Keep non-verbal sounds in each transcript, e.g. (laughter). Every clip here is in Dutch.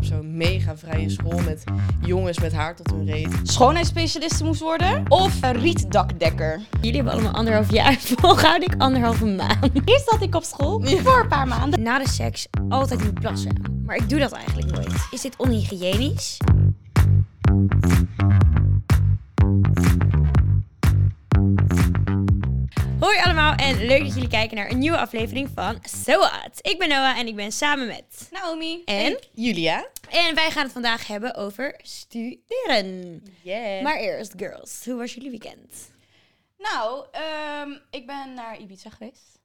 zo'n mega vrije school met jongens met haar tot hun reet. schoonheidsspecialiste moest worden of een rietdakdekker. Jullie hebben allemaal anderhalf jaar (laughs) volgehouden, ik anderhalve maand. Hier zat ik op school voor een paar maanden. Na de seks altijd moet plassen, maar ik doe dat eigenlijk nooit. Is dit onhygiënisch? Hoi allemaal en leuk dat jullie kijken naar een nieuwe aflevering van So What. Ik ben Noah en ik ben samen met... Naomi. En? Julia? En wij gaan het vandaag hebben over studeren. Yeah. Maar eerst, girls, hoe was jullie weekend? Nou, ehm, ik ben naar Ibiza geweest.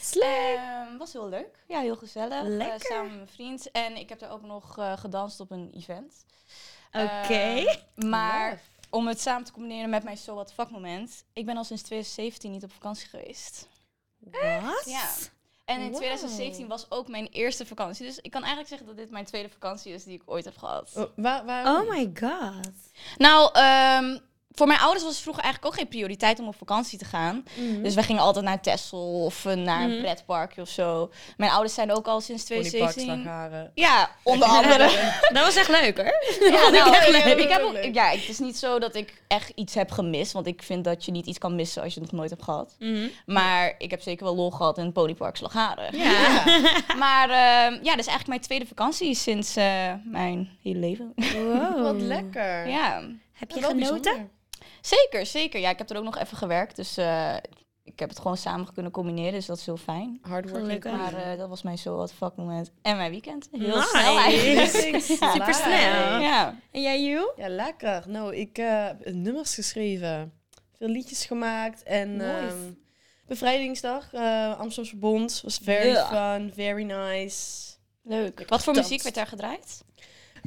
Slecht. Ehm, was heel leuk. Ja, heel gezellig. Eh, Lekker. samen met mijn vriend. En ik heb er ook nog eh, gedanst op een event. Oké. Ehm, maar Lef. om het samen te combineren met mijn So What the Fuck moment. Ik ben al sinds 2017 niet op vakantie geweest. Wat? Ja. En in Wow. 2017 was ook mijn eerste vakantie. Dus ik kan eigenlijk zeggen dat dit mijn tweede vakantie is die ik ooit heb gehad. Oh, wa- waarom? Oh my god. Nou, ehm, voor mijn ouders was het vroeger eigenlijk ook geen prioriteit om op vakantie te gaan. Dus wij gingen altijd naar Texel of eh, naar een pretparkje of zo. Mijn ouders zijn ook al sinds Ponypark, 2017. slagharen. Ja, onder andere. (laughs) Dat was echt leuk hoor. ja, nou, echt ik, leuk. ik heb ook, Leuk. ja, het is niet zo dat ik echt iets heb gemist. Want ik vind dat je niet iets kan missen als je het nog nooit hebt gehad. Maar ik heb zeker wel lol gehad in het Ponypark Slagharen. Ja. Maar ehm, ja, dat is eigenlijk mijn tweede vakantie sinds eh, mijn hele leven. Wow. Wat lekker. ja. Oh. Heb je Wel genoten? bijzonder. Zeker, zeker. Ja, ik heb er ook nog even gewerkt. Dus eh, ik heb het gewoon samen kunnen combineren. Dus dat is heel fijn. Hardworking. Gelukkig. Maar eh, dat was mijn zo wat fuck moment. En mijn weekend. Heel Nice. snel (laughs) eigenlijk. Super snel. Ja. En jij, Joe? Ja, lekker. Nou, ik eh, heb nummers geschreven, veel liedjes gemaakt en Nice. ehm, bevrijdingsdag, eh Amsterdamse Verbond, was very Ja. fun, very nice. Leuk. Wat voor Dat. muziek werd daar gedraaid?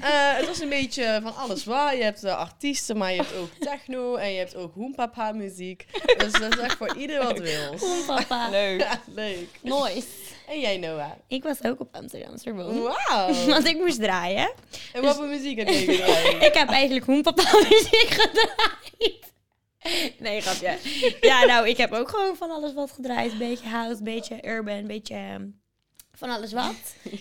Eh, het was een beetje van alles waar. Je hebt eh, artiesten, maar je hebt (laughs) ook techno en je hebt ook hoempapa muziek. Dus dat is echt voor ieder wat wil. Kom papa. Leuk. (laughs) Ja, leuk. Nice. En jij Noah? Ik was ook op Amsterdamse Hm? Verbond. Wauw. (laughs) Want ik moest draaien. En wat voor muziek heb (laughs) je gedaan? Ik heb eigenlijk hoenpapa muziek gedraaid. Nee, grapje. Ja, nou, ik heb ook gewoon van alles wat gedraaid. Beetje house, beetje urban, beetje ehm, van alles wat.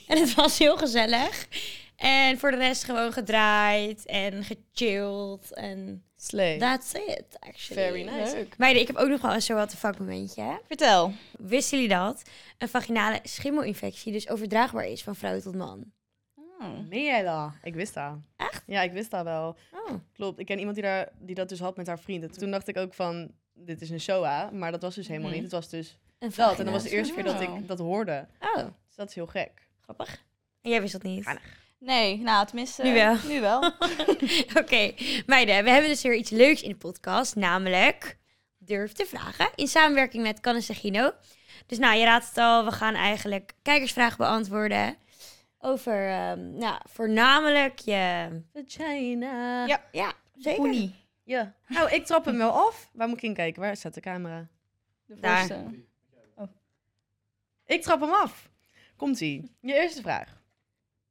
En het was heel gezellig. En voor de rest gewoon gedraaid en gechilled. En Slay. that's it, actually. Very nice. Meiden, ik heb ook nog wel een zo wat de fuck momentje. hè. Vertel. Wisten jullie dat een vaginale schimmelinfectie dus overdraagbaar is van vrouw tot man? Hmm. Mela. Ik wist dat. Echt? Ja, ik wist dat wel. Oh. Klopt. Ik ken iemand die, daar, die dat dus had met haar vriend. En toen dacht ik ook van, dit is een Shoah. Maar dat was dus helemaal Mhm. niet. Het was dus Een dat. En vaginale dat was de eerste keer dat Wauw. ik dat hoorde. Oh, Dus dat is heel gek. grappig. En jij wist dat niet? Ah, Nee, nou tenminste. Nu wel. Nu wel. Oké, meiden, we hebben dus weer iets leuks in de podcast, namelijk Durf te vragen in samenwerking met Cannes en Gino. Dus nou, je raadt het al, we gaan eigenlijk kijkersvragen beantwoorden over, ehm, nou, voornamelijk je... Vagina. Ja. Ja, (laughs) zeker. Oenie. Ja. Nou, ik trap hem wel af. Waar moet ik in kijken? Waar staat de camera? De Daar. voorste. Ik trap hem af. Komt-ie. Je eerste vraag.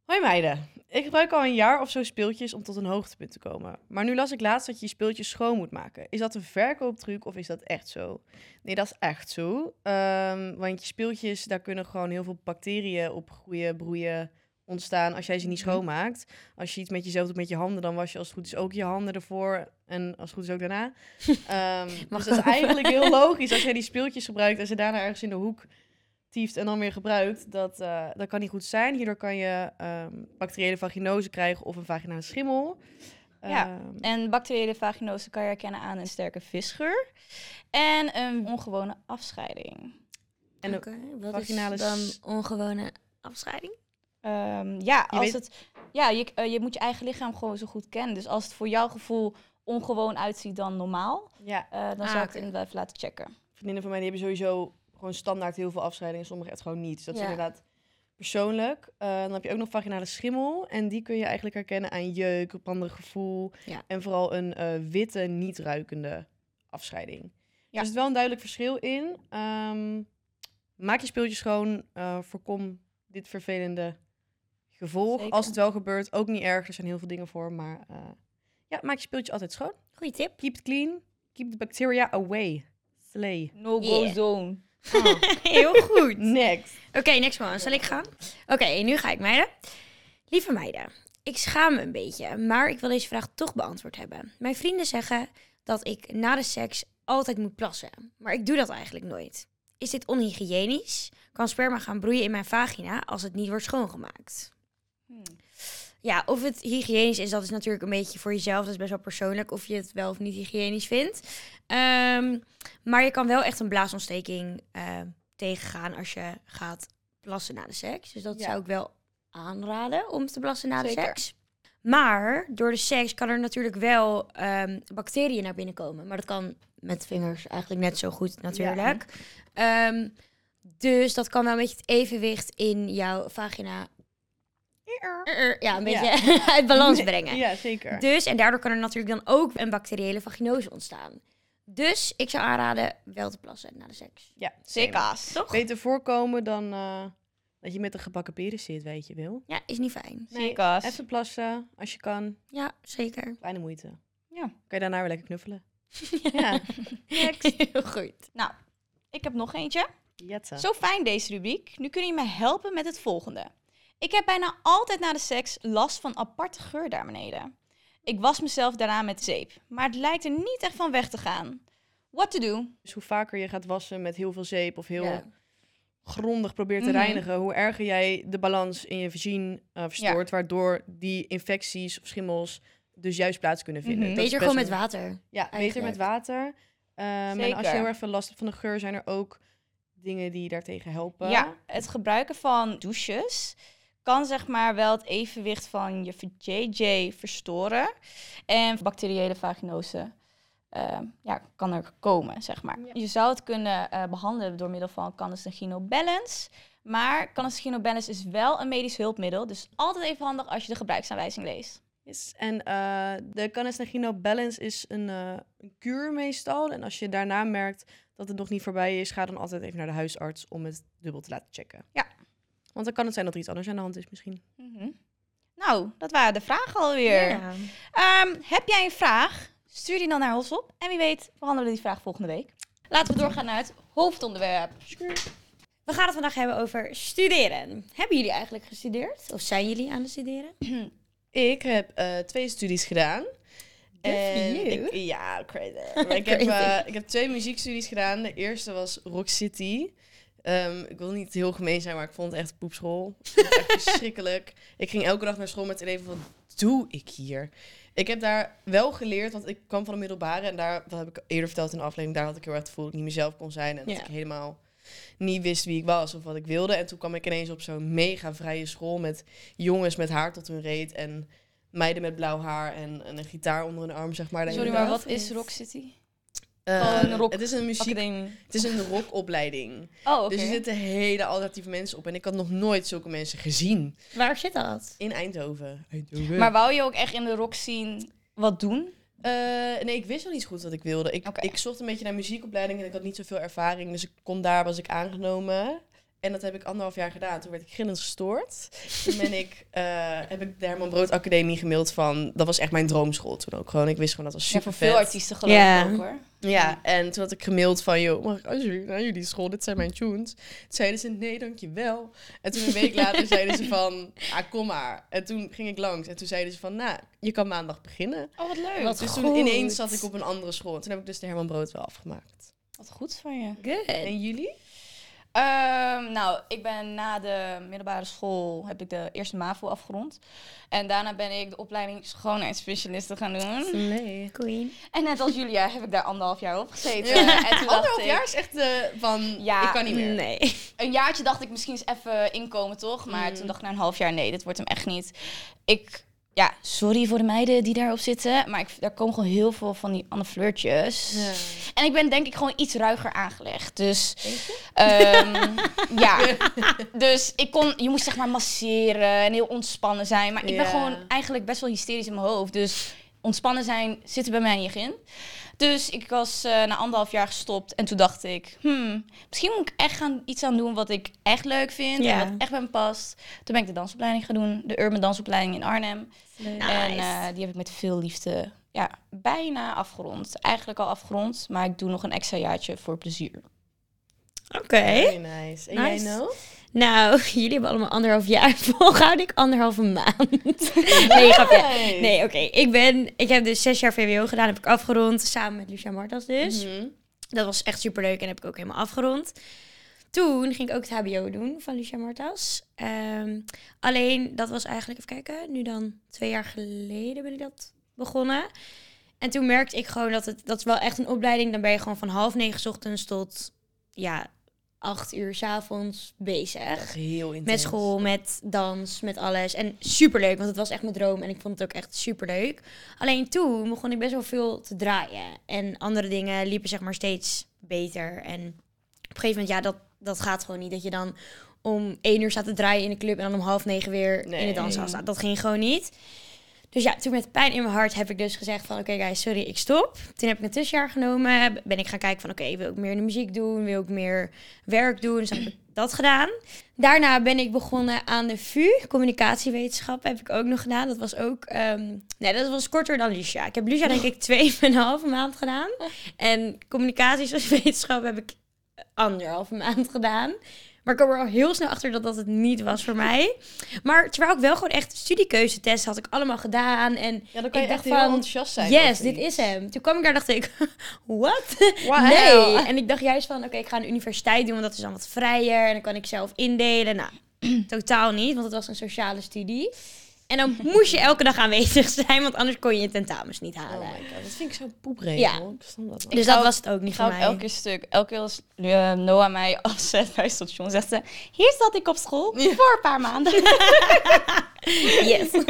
Hoi meiden. Ik gebruik al een jaar of zo speeltjes om tot een hoogtepunt te komen. Maar nu las ik laatst dat je je speeltjes schoon moet maken. Is dat een verkooptruc of is dat echt zo? Nee, dat is echt zo. Ehm, want je speeltjes, daar kunnen gewoon heel veel bacteriën op groeien, broeien, ontstaan als jij ze niet schoonmaakt. Als je iets met jezelf doet met je handen, dan was je als het goed is ook je handen ervoor. En als het goed is ook daarna. Ehm, Mag dus dat is ook. eigenlijk heel logisch. Als jij die speeltjes gebruikt en ze daarna ergens in de hoek tieft en dan weer gebruikt, dat, eh, dat kan niet goed zijn. Hierdoor kan je ehm, bacteriële vaginose krijgen of een vaginale schimmel. Ja. Ehm, En bacteriële vaginose kan je herkennen aan een sterke visgeur. En een ongewone afscheiding. en een- Oké, wat vaginale is dan s- ongewone afscheiding? Ehm, ja, Je als weet- het, ja je, eh, je moet je eigen lichaam gewoon zo goed kennen. Dus als het voor jouw gevoel ongewoon uitziet dan normaal, ja, eh, dan Ah, zou ik het oké. inderdaad even laten checken. vriendinnen van mij die hebben sowieso gewoon standaard heel veel afscheidingen. Sommige echt gewoon niet. Dus dat Ja. is inderdaad persoonlijk. Eh, dan heb je ook nog vaginale schimmel. En die kun je eigenlijk herkennen aan jeuk, op ander gevoel. Ja. En vooral een eh, witte, niet ruikende afscheiding. Dus Ja. Er zit wel een duidelijk verschil in. Ehm, maak je speeltjes schoon. eh, voorkom dit vervelende gevolg. Zeker. Als het wel gebeurt, ook niet erg. Er zijn heel veel dingen voor. Maar eh, ja, maak je speeltjes altijd schoon. Goeie tip. Keep it clean. Keep the bacteria away. Slay. No-go Yeah. zone. (laughs) Heel Oh, goed. (laughs) Next. Oké, niks man. Zal ik gaan? Oké, nu ga ik, meiden. Lieve meiden, Ik schaam me een beetje, maar ik wil deze vraag toch beantwoord hebben. Mijn vrienden zeggen dat ik na de seks altijd moet plassen, maar ik doe dat eigenlijk nooit. Is dit onhygiënisch? Kan sperma gaan broeien in mijn vagina als het niet wordt schoongemaakt? Hmm. Ja, of het hygiënisch is, dat is natuurlijk een beetje voor jezelf. Dat is best wel persoonlijk of je het wel of niet hygiënisch vindt. Ehm, maar je kan wel echt een blaasontsteking eh, tegengaan als je gaat plassen na de seks. Dus dat Ja. zou ik wel aanraden om te plassen na de Zeker. seks. Maar door de seks kan er natuurlijk wel ehm, bacteriën naar binnen komen. Maar dat kan met vingers eigenlijk net zo goed natuurlijk. Ehm, dus dat kan wel een beetje het evenwicht in jouw vagina. Eh, eh, Ja, een Ja. beetje (laughs) uit balans brengen. Ja, zeker. Dus, en daardoor kan er natuurlijk dan ook een bacteriële vaginose ontstaan. Dus ik zou aanraden wel te plassen na de seks. Ja, Zeker. same. Toch? Beter voorkomen dan eh, dat je met een gebakken peren zit, weet je wel. Ja, is niet fijn. Nee, Zeker. Even plassen, als je kan. Ja, zeker. Kleine moeite. Ja. Kan je daarna weer lekker (laughs) knuffelen. ja. Heel goed. Nou, ik heb nog eentje. Jetta. Zo fijn deze rubriek. Nu kun je me helpen met het volgende. Ik heb bijna altijd na de seks last van aparte geur daar beneden. Ik was mezelf daarna met zeep, maar het lijkt er niet echt van weg te gaan. What to do? Dus hoe vaker je gaat wassen met heel veel zeep of heel Ja. grondig probeert te Mhm. reinigen, hoe erger jij de balans in je vagina eh, verstoort, waardoor die infecties of schimmels dus juist plaats kunnen vinden. Mhm. Dat is Beter gewoon met best water. wel- Ja, beter eigenlijk. met water. Ehm, en als je Zeker. heel erg veel last hebt van de geur, zijn er ook dingen die je daartegen helpen. Ja, het gebruiken van douches kan zeg maar wel het evenwicht van je JJ verstoren. En bacteriële vaginose eh, ja, kan er komen, zeg maar. Ja. Je zou het kunnen eh, behandelen door middel van clandestino balance. Maar clandestino balance is wel een medisch hulpmiddel. Dus altijd even handig als je de gebruiksaanwijzing leest. Yes. En eh de Canestagino Balance is een, eh, een kuur meestal. En als je daarna merkt dat het nog niet voorbij is, ga dan altijd even naar de huisarts om het dubbel te laten checken. Ja. Want dan kan het zijn dat er iets anders aan de hand is misschien. Mhm. Nou, dat waren de vragen alweer. Ja. Ehm, heb jij een vraag? Stuur die dan naar ons op. En wie weet behandelen we die vraag volgende week. Laten we doorgaan naar het hoofdonderwerp. We gaan het vandaag hebben over studeren. Hebben jullie eigenlijk gestudeerd? Of zijn jullie aan het studeren? Ik heb eh, twee studies gedaan. En ik, ja, crazy. Maar ik, heb, eh, ik heb twee muziekstudies gedaan. De eerste was Rock City. Ehm, ik wil niet heel gemeen zijn, maar ik vond het echt poepschool. Ik vond het echt verschrikkelijk. Ik ging elke dag naar school met het idee van, wat doe ik hier? Ik heb daar wel geleerd, want ik kwam van de middelbare. En daar, dat heb ik eerder verteld in de aflevering, daar had ik heel erg het gevoel dat ik niet mezelf kon zijn. En Ja. dat ik helemaal niet wist wie ik was of wat ik wilde. En toen kwam ik ineens op zo'n mega vrije school met jongens met haar tot hun reet. En meiden met blauw haar en, en een gitaar onder hun arm, zeg maar. de Sorry, hele maar dag. wat is Rock City? Eh, gewoon een rock- Het is een muziek... Academie. Het is een rockopleiding. Oh, oké. Dus er zitten hele alternatieve mensen op. En ik had nog nooit zulke mensen gezien. Waar zit dat? In Eindhoven. Eindhoven. Maar wou je ook echt in de rock scene wat doen? Eh, nee, ik wist wel niet zo goed wat ik wilde. Ik, Oké. ik zocht een beetje naar muziekopleiding en ik had niet zoveel ervaring. Dus ik kon daar, was ik aangenomen. En dat heb ik anderhalf jaar gedaan. Toen werd ik gillend gestoord. Toen ben (laughs) ik, eh, heb ik de Herman Brood Academie gemaild van... Dat was echt mijn droomschool toen ook gewoon. Ik wist gewoon dat was Ja, super voor vet. veel artiesten geloof Ja. ik ook hoor. Ja, en toen had ik gemaild van, joh, mag ik alsjeblieft naar jullie school? Dit zijn mijn tunes. Toen zeiden ze, nee, dankjewel. En toen een (laughs) week later zeiden ze van, ah, kom maar. En toen ging ik langs en toen zeiden ze van, nou, je kan maandag beginnen. Oh, wat leuk. Wat dus goed. toen ineens zat ik op een andere school. En toen heb ik dus de Herman Brood wel afgemaakt. Wat goed van je. Good. En jullie? (laughs) Ehm, nou, ik ben na de middelbare school heb ik de eerste MAVO afgerond. En daarna ben ik de opleiding schoonheidsspecialisten gaan doen. Nee. Queen. En net als Julia heb ik daar anderhalf jaar op gezeten. En toen dacht Anderhalf ik- jaar is echt eh, van, Ja, ik kan niet meer. Nee. een jaartje dacht ik misschien eens even inkomen, toch? Maar toen dacht ik na een half jaar, nee, dit wordt hem echt niet. Ik, ja, sorry voor de meiden die daarop zitten. Maar ik, daar komen gewoon heel veel van die Anne Fleurtjes. En ik ben denk ik gewoon iets ruiger aangelegd. Dus, ehm, ja. Dus ik kon, je moest zeg maar masseren en heel ontspannen zijn. Maar ik ben Ja. gewoon eigenlijk best wel hysterisch in mijn hoofd. Dus ontspannen zijn zit er bij mij niet in. Dus ik was eh, na anderhalf jaar gestopt en toen dacht ik, hmm, misschien moet ik echt gaan, iets aan doen wat ik echt leuk vind Ja. en wat echt bij me past. Toen ben ik de dansopleiding gaan doen, de Urban Dansopleiding in Arnhem. En eh, die heb ik met veel liefde ja, bijna afgerond. Eigenlijk al afgerond, maar ik doe nog een extra jaartje voor plezier. Oké. Very nice. En Nice. jij nou? Nou, (laughs) jullie hebben allemaal anderhalf jaar (laughs) volgehouden. Ik anderhalve maand. (laughs) Nee, grapje. Nee, oké. Ik, ben, ik heb dus zes jaar VWO gedaan. Heb ik afgerond. Samen met Lucia Martas dus. Mhm. Dat was echt superleuk en heb ik ook helemaal afgerond. Toen ging ik ook het HBO doen van Lucia Martas. Ehm, alleen, dat was eigenlijk, even kijken, nu dan twee jaar geleden ben ik dat begonnen. En toen merkte ik gewoon dat het, dat is wel echt een opleiding. Dan ben je gewoon van half negen 's ochtends tot, ja, acht uur 's avonds bezig. Heel intens. Met school, met dans, met alles. En superleuk, want het was echt mijn droom en ik vond het ook echt superleuk. Alleen toen begon ik best wel veel te draaien. En andere dingen liepen zeg maar steeds beter. En op een gegeven moment, ja, dat, dat gaat gewoon niet. Dat je dan om één uur staat te draaien in de club en dan om half negen weer in Nee. de danszaal staat. Dat ging gewoon niet. Dus ja, toen met pijn in mijn hart heb ik dus gezegd van... oké guys, sorry, ik stop. Toen heb ik een tussenjaar genomen. Ben ik gaan kijken van oké, wil ik meer in de muziek doen? Wil ik meer werk doen? Dus heb ik dat gedaan. Daarna ben ik begonnen aan de VU, communicatiewetenschappen heb ik ook nog gedaan. Dat was ook, ehm, nee, dat was korter dan Lucia. Ik heb Lucia denk ik twee en een halve maand gedaan. En communicatiewetenschappen heb ik anderhalve maand gedaan. Maar ik kwam er al heel snel achter dat dat het niet was voor mij. Maar terwijl ik wel gewoon echt studiekeuzetests had ik allemaal gedaan. En Ja, dan kan Ik je dacht echt van, heel enthousiast zijn. yes, over dit iets. is hem. Toen kwam ik daar dacht ik, (laughs) wat? Wow. Nee. En ik dacht juist van, oké, ik ga een universiteit doen, want dat is dan wat vrijer. En dan kan ik zelf indelen. Nou, (clears throat) totaal niet, want het was een sociale studie. En (laughs) dan moest je elke dag aanwezig zijn, want anders kon je je tentamens niet halen. Oh my god, dat vind ik zo poepregen. Ja. hoor. Ik verstand dat dus Ik dat ga ook- was het ook niet Ik voor ga ook mij. elke keer stuk. Elke keer als eh, Noah mij (laughs) afzet bij het station, zegt ze... Hier zat ik op school voor een paar (laughs) maanden. Yes.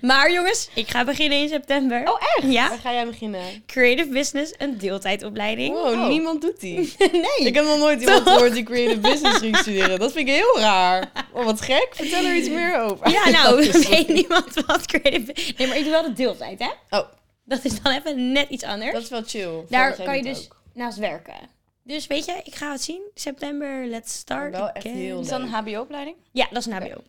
maar jongens, ik ga beginnen in september. Oh, echt? (laughs) Ja. Waar ga jij beginnen? Creative Business, een deeltijdopleiding. Wow, niemand doet die. (laughs) nee. Ik heb nog nooit iemand gehoord die creative business ging studeren. Dat vind ik heel raar. Oh, wat gek. Vertel er iets meer over. (laughs) (laughs) Oh, Ja, (laughs) nou, weet niemand wat creative... Nee, maar ik doe wel de deeltijd, hè? Oh. Dat is dan even net iets anders. Dat is wel chill. Daar Volgens mij kan je doet dus ook. naast werken. Dus weet je, ik ga het zien. September, let's start. Wel echt again. heel Is dat een leuk. HBO-opleiding? Ja, dat is een HBO.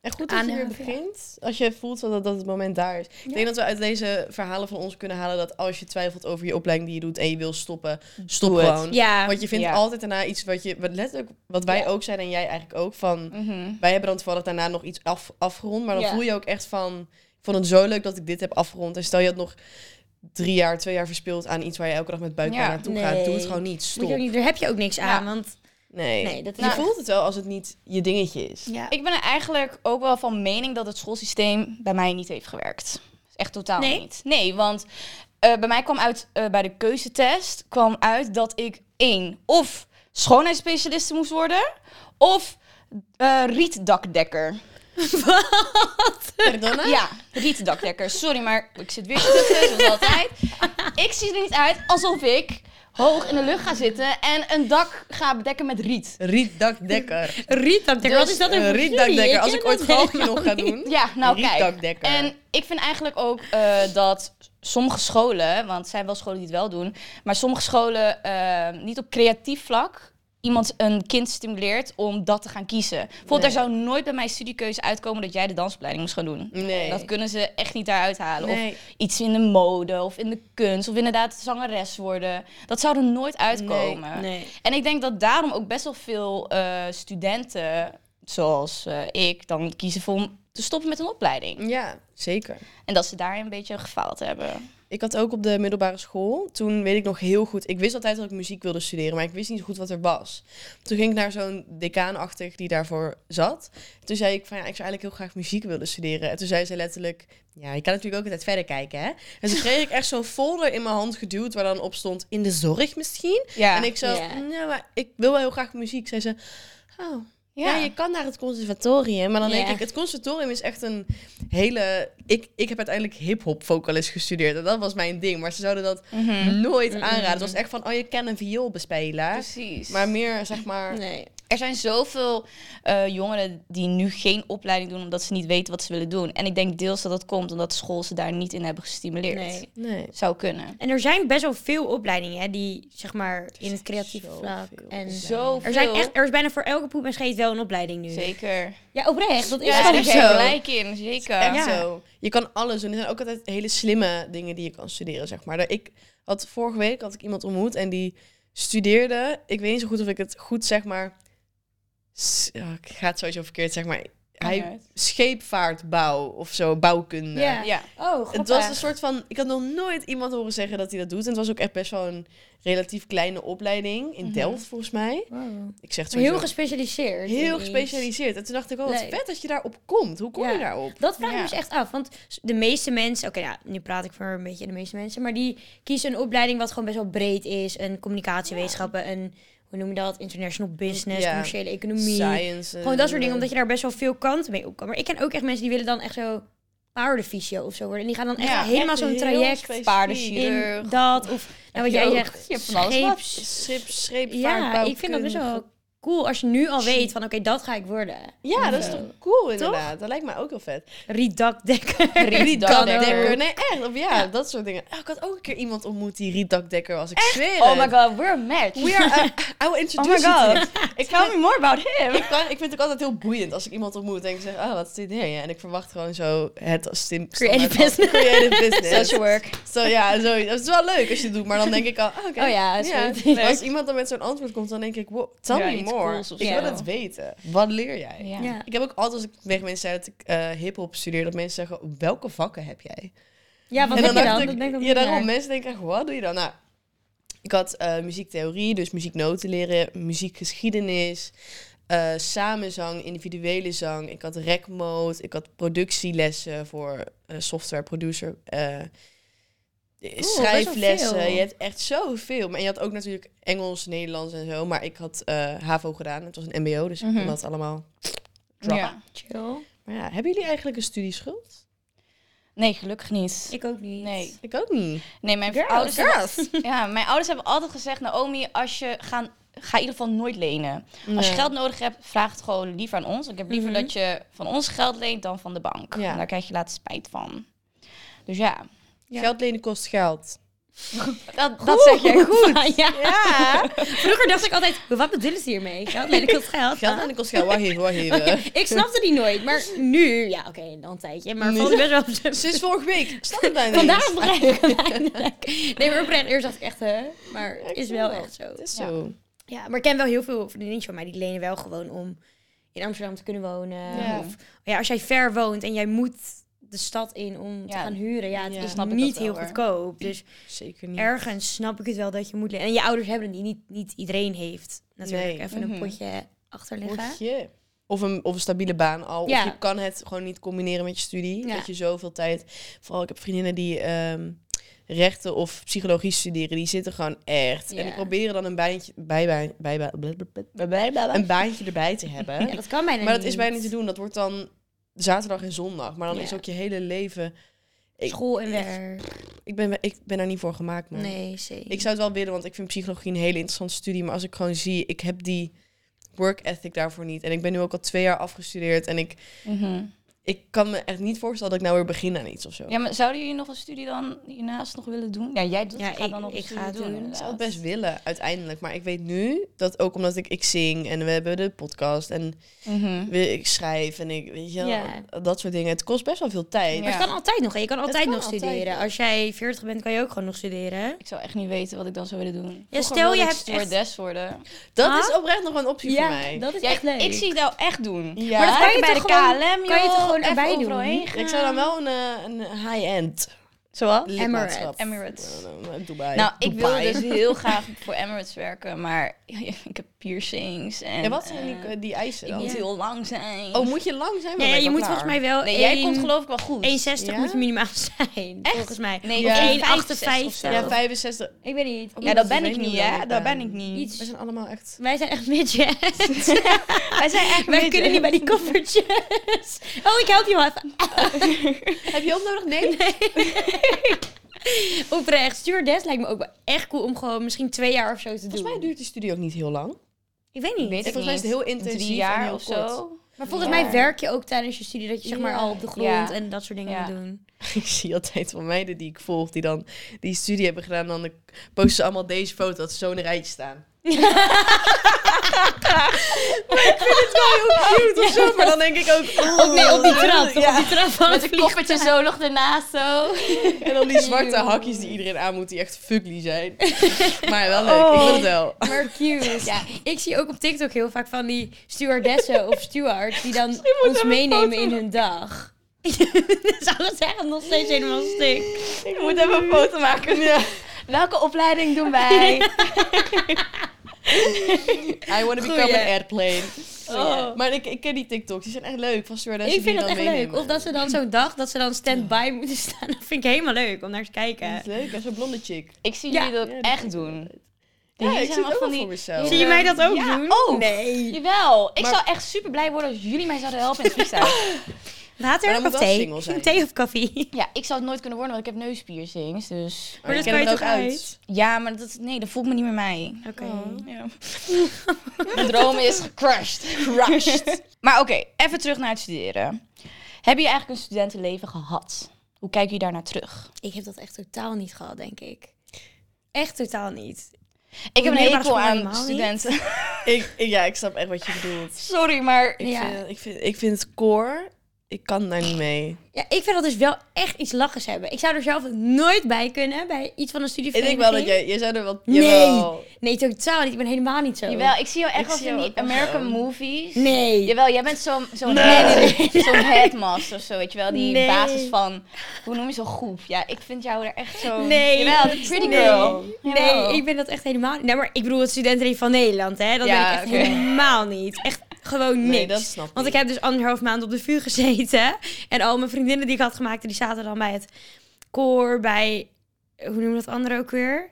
En goed dat je weer aanhaven, ja. begint. Als je voelt dat, dat het moment daar is. Ik denk dat we uit deze verhalen van ons kunnen halen dat als je twijfelt over je opleiding die je doet en je wil stoppen, stop Doe het. gewoon. Ja, Want je vindt Ja. altijd daarna iets wat je, wat letterlijk, wat wij ook zijn en jij eigenlijk ook, van Mhm. wij hebben dan toevallig daarna nog iets af, afgerond. Maar dan Ja. voel je ook echt van, ik vond het zo leuk dat ik dit heb afgerond. En stel je had nog drie jaar, twee jaar verspild aan iets waar je elke dag met buikpijn Ja. naartoe Nee. gaat. Doe het gewoon niet. moet Stop. je ook niet, daar heb je ook niks aan. Want Nee. nee, dat is je echt- voelt het wel als het niet je dingetje is. ja. Ik ben er eigenlijk ook wel van mening dat het schoolsysteem bij mij niet heeft gewerkt. Echt totaal Nee? niet. Nee, want eh, bij mij kwam uit, eh, bij de keuzetest kwam uit dat ik één, of schoonheidsspecialiste moest worden, of eh, rietdakdekker. Pardonna? Ja, rietdakdekker. Sorry, maar ik zit weer tussen, zoals (laughs) altijd. Ik zie er niet uit alsof ik hoog in de lucht ga zitten en een dak ga bedekken met riet. Rietdakdekker. Rietdakdekker, wat Dus, is dat dan Een voor studie? rietdakdekker. Als ken ik ooit dat galgje helemaal nog ga niet. doen. Ja, nou kijk. Rietdakdekker. En ik vind eigenlijk ook eh, dat sommige scholen, want er zijn wel scholen die het wel doen, maar sommige scholen eh, niet op creatief vlak iemand een kind stimuleert om dat te gaan kiezen. Bijvoorbeeld, er Nee. zou nooit bij mijn studiekeuze uitkomen dat jij de dansopleiding moest gaan doen. Nee. Dat kunnen ze echt niet daaruit halen. Nee. Of iets in de mode, of in de kunst, of inderdaad zangeres worden. Dat zou er nooit uitkomen. Nee. En ik denk dat daarom ook best wel veel eh, studenten, zoals eh, ik, dan kiezen voor om te stoppen met een opleiding. Ja, zeker. En dat ze daarin een beetje gefaald hebben. Ik had ook op de middelbare school, toen weet ik nog heel goed, ik wist altijd dat ik muziek wilde studeren, maar ik wist niet goed wat er was. Toen ging ik naar zo'n decaanachtig die daarvoor zat. Toen zei ik van ja, ik zou eigenlijk heel graag muziek willen studeren. En toen zei ze letterlijk, ja, je kan natuurlijk ook altijd verder kijken hè. En toen kreeg ik echt zo'n folder in mijn hand geduwd waar dan op stond, in de zorg misschien. Ja. En ik zo, Ja. nou, maar ik wil wel heel graag muziek. Zei ze, oh, ja. Ja. je kan naar het conservatorium. Maar dan denk Ja. ik, het conservatorium is echt een hele... Ik, ik heb uiteindelijk hip-hop vocalist gestudeerd. En dat was mijn ding. Maar ze zouden dat Mhm. nooit aanraden. Het was echt van, oh, je kan een vioolbespeler. Precies. Maar meer, zeg maar... Nee. er zijn zoveel eh, jongeren die nu geen opleiding doen omdat ze niet weten wat ze willen doen. En ik denk deels dat dat komt omdat school ze daar niet in hebben gestimuleerd. Nee. Nee. Zou kunnen. En er zijn best wel veel opleidingen hè, die, zeg maar, in het creatieve vlak. En opleidingen. Zoveel. er, zijn echt, er is bijna voor elke poep en scheet wel een opleiding nu. Zeker. Ja, oprecht. Dat is Ja, daar gewoon heb je zo. gelijk in. Zeker. Echt Ja. zo. Je kan alles doen. Er zijn ook altijd hele slimme dingen die je kan studeren, zeg maar. Ik had vorige week had ik iemand ontmoet en die studeerde. Ik weet niet zo goed of ik het goed zeg, maar s- oh, ik ga het sowieso verkeerd zeg maar hij scheepvaartbouw of zo bouwkunde. Ja. Ja. Oh, god. Het was een soort van, ik had nog nooit iemand horen zeggen dat hij dat doet. En het was ook echt best wel een relatief kleine opleiding in Mhm. Delft volgens mij. Ik zeg het Heel sowieso, gespecialiseerd. in heel iets. gespecialiseerd. En toen dacht ik, oh, wat Leuk. vet dat je daarop komt. Hoe kom Ja. je daarop? Dat vraag ik Ja. me dus echt af. Want de meeste mensen, oké, ja, nu praat ik voor een beetje de meeste mensen, maar die kiezen een opleiding wat gewoon best wel breed is. Een communicatiewetenschappen, een, hoe noem je dat? International business, Ja. commerciële economie. Science. eh, Gewoon dat soort dingen, omdat je daar best wel veel kanten mee op kan. Maar ik ken ook echt mensen die willen dan echt zo paardenfysio of zo worden. En die gaan dan echt Ja, helemaal echt zo'n heel traject specifiek. in paardenchirurg. dat. Of nou, wat je jij ook- zegt, je hebt van alles wat. scheeps- Schip, scheep, Ja, ik vind dat dus dus best wel cool als je nu al weet van oké, dat ga ik worden. Ja, dat is Zo. toch cool inderdaad. Dat lijkt mij ook wel vet. Riedakdekker. Riedakdekker. Rietdakdekker. Nee, echt. Of ja, dat soort dingen. Oh, ik had ook een keer iemand ontmoet die rietdakdekker was. Ik zweer Oh het. my god, we're a match. We are, eh, I will oh introduce my you to him. god. (laughs) Tell me more about him. Ik, kan- ik vind het ook altijd heel boeiend als ik iemand ontmoet en ik zeg, ah, wat studeer je? En ik verwacht gewoon zo het als sim- Creative standaard van Creative business. (laughs) Social work. Zo, ja, zo, dat is wel leuk als je het doet, maar dan denk ik al, ah, oké. Oh ja, sweet. (laughs) Maar Als iemand dan met zo'n antwoord komt, dan denk ik, wow, tell Ja, me iets more. cools of ik zo. wil het weten. Wat leer jij? Ja. Ja. Ik heb ook altijd, als ik tegen mensen zei dat ik eh hip-hop studeer, dat mensen zeggen, welke vakken heb jij? Ja, wat en heb je dacht dan? ik- Dat ben ik nog ja, niet daarom. naar. Mensen denken echt, wat doe je dan? Nou, ik had eh, muziektheorie, dus muzieknoten leren, muziekgeschiedenis, eh, samenzang, individuele zang. Ik had rec mode, ik had productielessen voor eh, software producer, eh, veel. schrijflessen. Je hebt echt zoveel. Maar je had ook natuurlijk Engels, Nederlands en zo. Maar ik had eh, HAVO gedaan. Het was een MBO, dus ik Mhm. kon dat allemaal. Ja. Chill. Maar ja, hebben jullie eigenlijk een studieschuld? Nee, gelukkig niet. Ik ook niet. Nee. Ik ook niet. Nee, mijn Girls, ouders, (laughs) Ja, mijn ouders hebben altijd gezegd, Naomi, als je gaan, ga in ieder geval nooit lenen. Als je Nee. geld nodig hebt, vraag het gewoon liever aan ons. Ik heb liever Mhm. dat je van ons geld leent dan van de bank. Ja. En daar krijg je later spijt van. Dus ja, Ja. Geld lenen kost geld. dat, dat zeg jij goed. (laughs) ja. (laughs) Vroeger dacht ik altijd, wat bedoelen ze hiermee? Geld, nee, ik wil (laughs) geld. Geld aan de kost geld. Wacht even, wacht (laughs) even. Ik snapte die nooit, maar nu, ja, oké, dan een tijdje. Maar valt het best wel op (laughs) zijn Sinds vorige week. Snap het bijna niet. Vandaag begrijp ik het eindelijk. Nee, maar oprecht, eerst dacht ik echt, hè? Maar ik is snap wel dat. echt zo. Het is Ja. zo. Ja, maar ik ken wel heel veel vriendinnetjes van mij die lenen wel gewoon om in Amsterdam te kunnen wonen. Ja. Of ja, als jij ver woont en jij moet de stad in om te Ja. gaan huren, ja, het Ja. is Snap ik dat niet wel, heel hoor. goedkoop. (clears throat) Dus Zeker niet. ergens snap ik het wel dat je moet lenen. En je ouders hebben het niet, niet, niet iedereen heeft natuurlijk Nee. even Mhm. een potje achter liggen. Potje. Of een, of een stabiele baan al. Ja. Of je kan het gewoon niet combineren met je studie. Ja. Dat je zoveel tijd... Vooral, ik heb vriendinnen die ehm, rechten of psychologie studeren. Die zitten gewoon echt. En Ja. die proberen dan een, baantje, bijbaan, bijbaan, blablabla, een baantje erbij te hebben. Ja, dat kan bijna maar niet. dat is bijna niet te doen. Dat wordt dan zaterdag en zondag. Maar dan Ja. is ook je hele leven... Ik- School en werk. Ik ben, ik ben daar niet voor gemaakt, man. Nee, zeker. Ik zou het wel willen, want ik vind psychologie een hele interessante studie. Maar als ik gewoon zie, ik heb die work ethic daarvoor niet. En ik ben nu ook al twee jaar afgestudeerd. En ik, Mhm. ik kan me echt niet voorstellen dat ik nou weer begin aan iets of zo. Ja, maar zouden jullie nog een studie dan hiernaast nog willen doen? Ja, jij doet, Ja, ik ga ik- dan nog ik een studie ga het doen. doen. inderdaad. Ik zou het best willen, uiteindelijk. Maar ik weet nu dat ook omdat ik, ik zing en we hebben de podcast en Mhm. we- ik schrijf en ik, weet je wel, Ja. dat soort dingen. Het kost best wel veel tijd. Maar het Ja. kan altijd nog. hè. Je kan altijd kan nog altijd, studeren. ja. Als jij 40 bent, kan je ook gewoon nog studeren. Ik zou echt niet weten wat ik dan zou willen doen. Vroeger stel, je wilde ik hebt echt- stewardess worden. Dat Ah? is oprecht nog een optie voor mij. dat is Ja, echt leuk. Ik zie jou Dus echt doen. Ja. Maar dat Maar kan je kan bij je de toch gewoon- KLM, kan je toch joh, gewoon even erbij overal doen? heen Ik zou dan wel een, eh, een high-end Zoals? lidmaatschap- Emirates. Eh, Dubai. Nou, ik wil Dubai. dus (laughs) heel graag voor Emirates werken, maar (laughs) ik heb piercings en... Ja, wat zijn eh, die, eh, die eisen ik dan? moet Ja. heel lang zijn. Oh, moet je lang zijn? Dan ben Nee, ik je al moet klaar. volgens mij wel. nee, jij één- komt geloof ik wel goed. 1,60 Ja? moet je minimaal (laughs) zijn, volgens mij. Nee, Ja. ja. 1,58 of zo. Ja, 65. Ik weet niet. Ja, dat Ze ben ik weten niet, hoe lang hè? ik Dat ben. ben ik niet. Iets. We zijn allemaal echt... Wij zijn echt (laughs) midgets. Wij zijn echt Wij midgets. kunnen niet bij die koffertjes. Oh, ik help je wel even. (laughs) Heb je hulp nodig? Nee. Oprecht, stewardess lijkt me ook wel echt cool om gewoon misschien twee jaar of zo te doen. Volgens mij duurt die studie ook niet heel lang. (laughs) Ik weet niet. Ik weet het Volgens mij is het niet. heel intensief Drie en jaar heel of kort. zo. maar volgens Ja. mij werk je ook tijdens je studie dat je zeg maar Ja. al op de grond Ja. en dat soort dingen Ja. moet doen. Ik zie altijd van meiden die ik volg, die dan die (laughs) (laughs) studie hebben gedaan. Dan posten ze allemaal deze foto, dat ze zo in een rijtje staan. cute of zo, maar dan denk ik ook... oh, Ook nee, op die trap. Op die trap van Met het een vliegtuig. koffertje (laughs) zo nog ernaast zo. En dan die zwarte hakjes die iedereen aan moet, die echt fugly (laughs) zijn. Maar wel leuk, ik Oh. wil het wel. Maar cute. (laughs) Ja, ik zie ook op TikTok heel vaak van die (laughs) stewardessen of stewards die dan ons meenemen in hun dag. (laughs) dus alles echt nog steeds helemaal stik. Ik moet even een foto maken. Welke opleiding (laughs) doen wij? I want to Goeie. Oh. become an airplane. Maar ik, ik ken die TikToks, die zijn echt leuk. Van stewardessen Ik vind Oh. die dat je echt dan leuk. Of meenemen. dat ze dan zo'n dag, dat ze dan stand-by moeten staan. (laughs) Dat vind ik helemaal leuk om naar te kijken. Dat is leuk, dat is een blonde chick. Ik zie Ja. jullie dat Ja, dat echt doen. Ja, Jullie ik zit zijn wel ook van wel die- voor mezelf. Zie je mij dat ook Ja, doen? ook. Nee. Jawel. Ik Maar- zou echt super blij worden als jullie mij zouden helpen in het vliegtuig. Water Maar dan moet of wel thee? single zijn. Thee of koffie? (laughs) ja, ik zou het nooit kunnen worden, want ik heb neuspiercings. Dus Maar ik dat ken kan je het toch ook uit? ja, maar dat, nee, dat voelt me niet meer mij. Oké. Ja. Mijn droom is gecrushed. Crushed. maar oké, even terug naar het studeren. Heb je eigenlijk een studentenleven gehad? Hoe kijk je daarnaar terug? Ik heb dat echt totaal niet gehad, denk ik. Echt totaal niet. Ik heb een middelbare hekel school aan helemaal niet. studenten. Ik, ik- ja, ik snap echt wat je bedoelt. Sorry, maar Ik, Ja. vind, ik, vind, ik vind het core, ik kan daar niet mee. Ja, ik vind dat dus wel echt iets lachers hebben. Ik zou er zelf nooit bij kunnen, bij iets van een Ik denk studievereniging. wel dat jij, jij zou er wat... Nee. Jawel. Nee, totaal niet. Ik ben helemaal niet zo. Jawel, ik zie jou echt wel zie in jou die ook wel American zo. movies. Nee. Jawel, jij bent zo'n zo'n head- zo'n headmaster of zo, weet je wel. Die Nee. basis van, hoe noem je zo'n groep? Ja, ik vind jou er echt zo... Nee. Jawel, de pretty Nee. girl. Jawel. Nee, ik ben dat echt helemaal niet. Nee, maar ik bedoel het studentenleven van Nederland, hè. Dat Ja, ben ik echt oké. helemaal niet. Echt gewoon niks. Nee, dat snap ik. Want ik heb dus anderhalf maand op de vuur gezeten. En al mijn vriendinnen die ik had gemaakt, die zaten dan bij het koor, bij... Hoe noem je dat andere ook weer?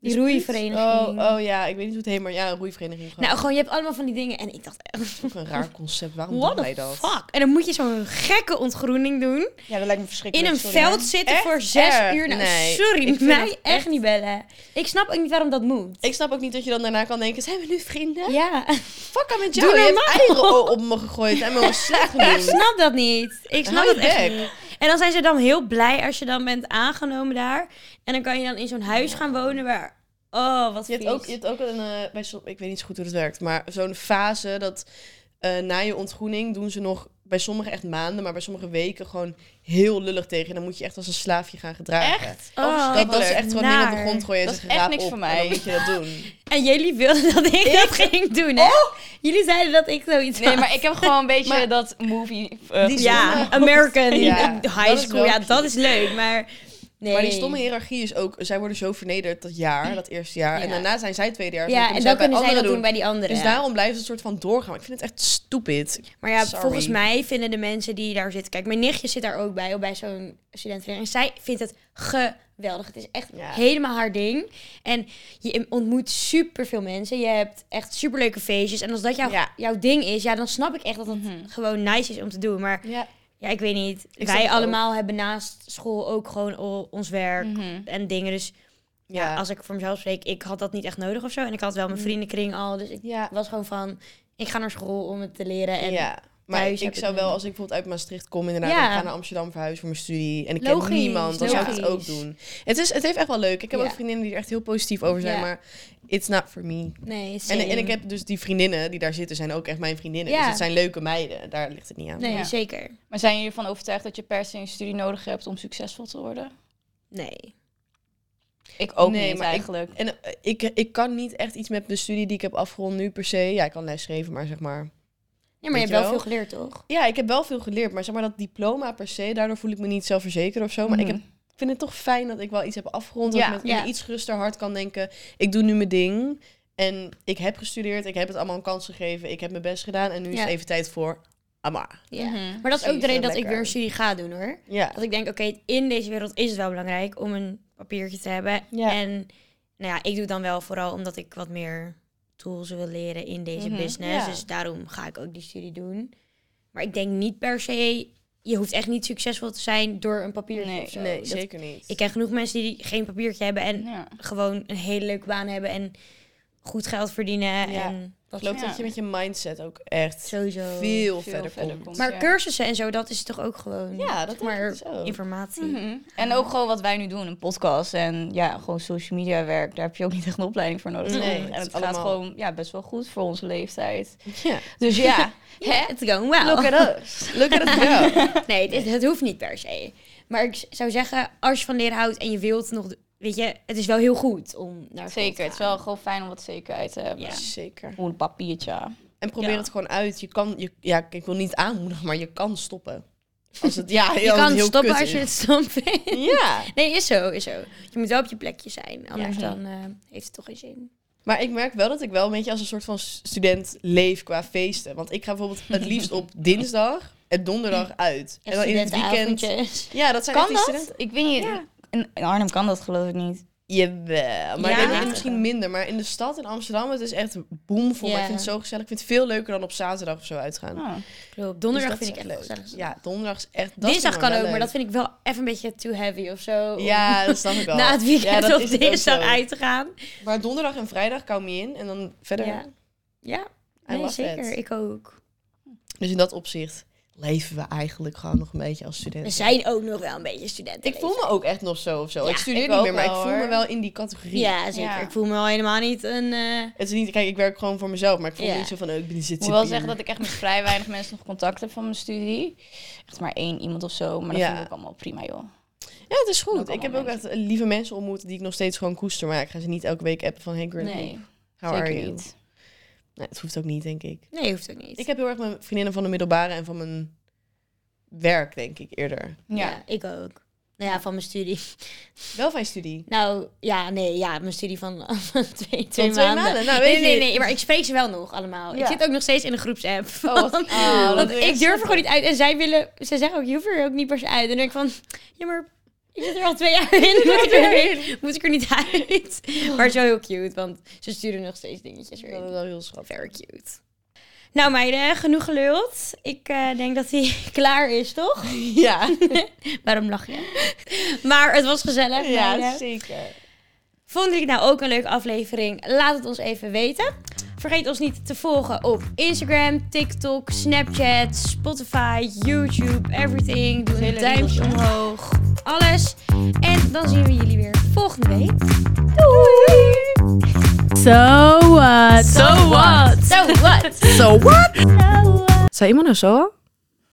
Die roeivereniging. Oh, oh ja, ik weet niet hoe het heet, maar ja, een roeivereniging. Gewoon. Nou, gewoon, je hebt allemaal van die dingen. En ik dacht echt, ook een raar concept. Waarom what doen wij the dat? fuck? En dan moet je zo'n gekke ontgroening doen. Ja, dat lijkt me In verschrikkelijk. een sorry, veld maar- zitten Echt voor zes erg. uur. Nou, Nee, sorry, ik vind mij dat echt... niet bellen. Ik snap ook niet waarom dat moet. Ik snap ook niet dat je dan daarna kan denken, zijn we nu vrienden? Ja, (laughs) Fuck aan met Doe jou, je hebt normaal. eieren o- op me gegooid en me ontslagen (laughs) ik genoemd. snap dat niet. Ik snap Hou dat je echt bek. niet. En dan zijn ze dan heel blij als je dan bent aangenomen daar. En dan kan je dan in zo'n huis gaan wonen waar... Oh, wat Je hebt vies. ook, je hebt ook een, eh, bij som- ik weet niet zo goed hoe dat werkt, maar zo'n fase dat eh, na je ontgroening doen ze nog bij sommigen echt maanden, maar bij sommige weken gewoon heel lullig tegen. En dan moet je echt als een slaafje gaan gedragen. Echt? Oh, Dat, dat ze echt gewoon dingen op de naar. grond gooien en Dat is zeggen echt raap niks op. voor en mij. dan moet je dat (laughs) doen. En jullie wilden dat ik, dat ging doen, hè? Oh! Jullie zeiden dat ik zoiets Nee, had. maar ik heb gewoon een beetje dat movie... eh, Die Ja, American (laughs) Ja, High dat is School. wel Ja, dat is leuk, maar... Nee. Maar die stomme hiërarchie is ook, zij worden zo vernederd dat jaar, dat eerste jaar. En Ja. daarna zijn zij tweede jaar. Ja, en dan kunnen zij dat doen bij die anderen. Dus daarom blijft het een soort van doorgaan. Maar Ik vind het echt stupid. Maar ja, Sorry. volgens mij vinden de mensen die daar zitten... Kijk, mijn nichtje zit daar ook bij, ook bij zo'n studentenvereniging. En zij vindt het geweldig. Het is echt Ja. helemaal haar ding. En je ontmoet superveel mensen. Je hebt echt superleuke feestjes. En als dat jouw, Ja. jouw ding is, ja, dan snap ik echt dat het gewoon nice is om te doen. Maar Ja. ja, ik weet niet. snap wij het ook. Mhm. allemaal hebben naast school ook gewoon al ons werk Mhm. en dingen. Dus ja. als ik voor mezelf spreek, ik had dat niet echt nodig of zo. En ik had wel mijn vriendenkring al. Dus ik Mhm. Ja. was gewoon van, ik ga naar school om het te leren. En ja. Maar thuis heb ik ik zou mijn- wel, als ik bijvoorbeeld uit Maastricht kom, inderdaad, Ja. en ik ga naar Amsterdam verhuizen voor mijn studie. En ik Logisch, ken niemand, dan zou ik het ook logisch. doen. Het, is, het heeft echt wel leuk. Ik heb Ja. ook vriendinnen die er echt heel positief over zijn, Ja. maar it's not for me. Nee, En, same. en ik heb dus die vriendinnen die daar zitten, zijn ook echt mijn vriendinnen. Ja. Dus het zijn leuke meiden, daar ligt het niet aan. Nee, Ja. zeker. Maar zijn jullie ervan overtuigd dat je per se een studie nodig hebt om succesvol te worden? Nee. Ik ook Nee, niet maar ik- eigenlijk. En eh, ik, ik kan niet echt iets met de studie die ik heb afgerond nu per se. Ja, ik kan lesgeven, maar zeg maar... Ja, maar je Weet hebt je wel wel? veel geleerd, toch? Ja, ik heb wel veel geleerd, maar zeg maar dat diploma per se, daardoor voel ik me niet zelfverzekerd of Oh, zo. Mhm. Maar ik, Mhm. heb, ik vind het toch fijn dat ik wel iets heb afgerond, dat Ja, ik met ja. een iets rustiger hart kan denken, ik doe nu mijn ding en ik heb gestudeerd, ik heb het allemaal een kans gegeven, ik heb mijn best gedaan en nu is Ja. het even tijd voor Amma. Ja. Mhm. Maar dat is ook de Precies, reden dat lekker. ik weer een studie ga doen, hoor. Ja. Dat ik denk, oké, in deze wereld is het wel belangrijk om een papiertje te hebben. Ja. En nou ja, ik doe het dan wel vooral omdat ik wat meer tools wil leren in deze Mhm, business. ja. Dus daarom ga ik ook die studie doen. Maar ik denk niet per se, je hoeft echt niet succesvol te zijn door een papiertje Nee, of zo. Nee, Dat- zeker niet. Ik ken genoeg mensen die geen papiertje hebben en Ja. gewoon een hele leuke baan hebben en goed geld verdienen. Ja. En Dat geloof Ja. dat je met je mindset ook echt Sowieso. veel, veel verder, verder komt. komt. Maar Ja. cursussen en zo, dat is toch ook gewoon Ja, dat zeg maar is ook. informatie. Mm-hmm. Mhm. En ook gewoon wat wij nu doen, een podcast en ja, gewoon social media werk. Daar heb je ook niet echt een opleiding voor nodig. Nee, en het is het gaat allemaal- gewoon ja, best wel goed voor onze (laughs) leeftijd. (laughs) Ja. Dus (laughs) ja, hè? It's going well. Look at us. Look at (laughs) it go. Nee, het, is- het hoeft niet per se. Maar ik s- zou zeggen, als je van leren houdt en je wilt nog... d- Weet je, het is wel heel goed om naar school te Zeker, het is gaan. wel gewoon fijn om wat zekerheid te hebben. Ja. Zeker. Gewoon een papiertje. En probeer Ja. het gewoon uit. Je kan, je, ja, ik wil niet aanmoedigen, maar je kan stoppen. Als het, ja, (laughs) Je kan stoppen als je het stom vindt. (laughs) Ja. Nee, is zo, is zo. Je moet wel op je plekje zijn, anders Ja. dan eh, heeft het toch geen zin. Maar ik merk wel dat ik wel een beetje als een soort van student leef qua feesten. Want ik ga bijvoorbeeld het liefst (laughs) op dinsdag en donderdag uit. en dan in het weekend. Studentenavondjes. Ja, dat zijn echt Kan die studenten- dat? Ik weet niet. In, in Arnhem kan dat geloof ik niet. Jawel, maar Ja? in- in misschien minder. Maar in de stad in Amsterdam, het is echt boomvol. Ja. Ik vind het zo gezellig. Ik vind het veel leuker dan op zaterdag of zo uitgaan. Dus Oh. Klopt, donderdag dat vind is ik echt gezellig. Ja, donderdag is echt... dat Dinsdag vind kan ik ook, wel maar dat leuk. vind ik wel even een beetje too heavy of zo. om Ja, (laughs) dat snap ik wel. Na het Ja, weekend dat op is het ook dinsdag zo. uit te gaan. Maar donderdag en vrijdag kom je in en dan verder. Ja. Ja, I nee, love zeker. it. Ik ook. Dus in dat opzicht leven we eigenlijk gewoon nog een beetje als We studenten. zijn ook nog wel een beetje studenten. Ik voel me ook echt nog zo of zo. Ja, ik studeer ik niet ook meer, maar wel, ik voel me hoor. wel in die categorie. Ja, zeker. Ja. Ik voel me al helemaal niet een... eh, Het is niet, kijk, ik werk gewoon voor mezelf, maar ik voel Ja. me niet zo van, oh, ik ben Ik zit moet wel zeggen dat ik echt met vrij weinig mensen nog contact heb van mijn studie. Echt maar één iemand of zo. Maar dat Ja. vind ik ook allemaal prima, joh. Ja, het is goed. Ook Ik heb ook allemaal echt lieve mensen ontmoet die ik nog steeds gewoon koester, maar ik ga ze niet elke week appen van, hey girl, Nee, how zeker are you? niet. Nee, het hoeft ook niet, denk ik. Nee, hoeft ook niet. Ik heb heel erg mijn vriendinnen van de middelbare en van mijn werk, denk ik, eerder. Ja. ik ook. Nou ja, van mijn studie. (laughs) Wel van je studie. Nou, ja, nee, ja, mijn studie van, (laughs) van twee, twee, Van twee maanden. Nou, weet Nee, nee, je- nee, maar ik spreek ze wel nog allemaal. Ik Ja. zit ook nog steeds in een groepsapp. Oh, wat- (laughs) oh, dat Want wil je ik echt durf er gewoon niet uit. En zij willen, ze zeggen ook, je hoeft er ook niet per se uit. En dan denk ik van, ja, maar ik zit er al twee jaar (laughs) in. Moet ik er, moet ik er niet uit? Maar het is wel heel cute, want ze sturen nog steeds dingetjes weer. Dat is wel heel schattig. Very cute. Nou meiden, genoeg geluld. Ik eh, denk dat hij (laughs) klaar is, toch? Ja, (laughs) Waarom lach je? Maar het was gezellig. meiden. ja zeker. Vonden jullie nou ook een leuke aflevering? Laat het ons even weten. Vergeet ons niet te volgen op Instagram, TikTok, Snapchat, Spotify, YouTube, everything. Doe een Hele duimpje riedeltje. omhoog. Alles. En dan zien we jullie weer volgende week. Doei! So what? So what? So what? Zei iemand nou zo?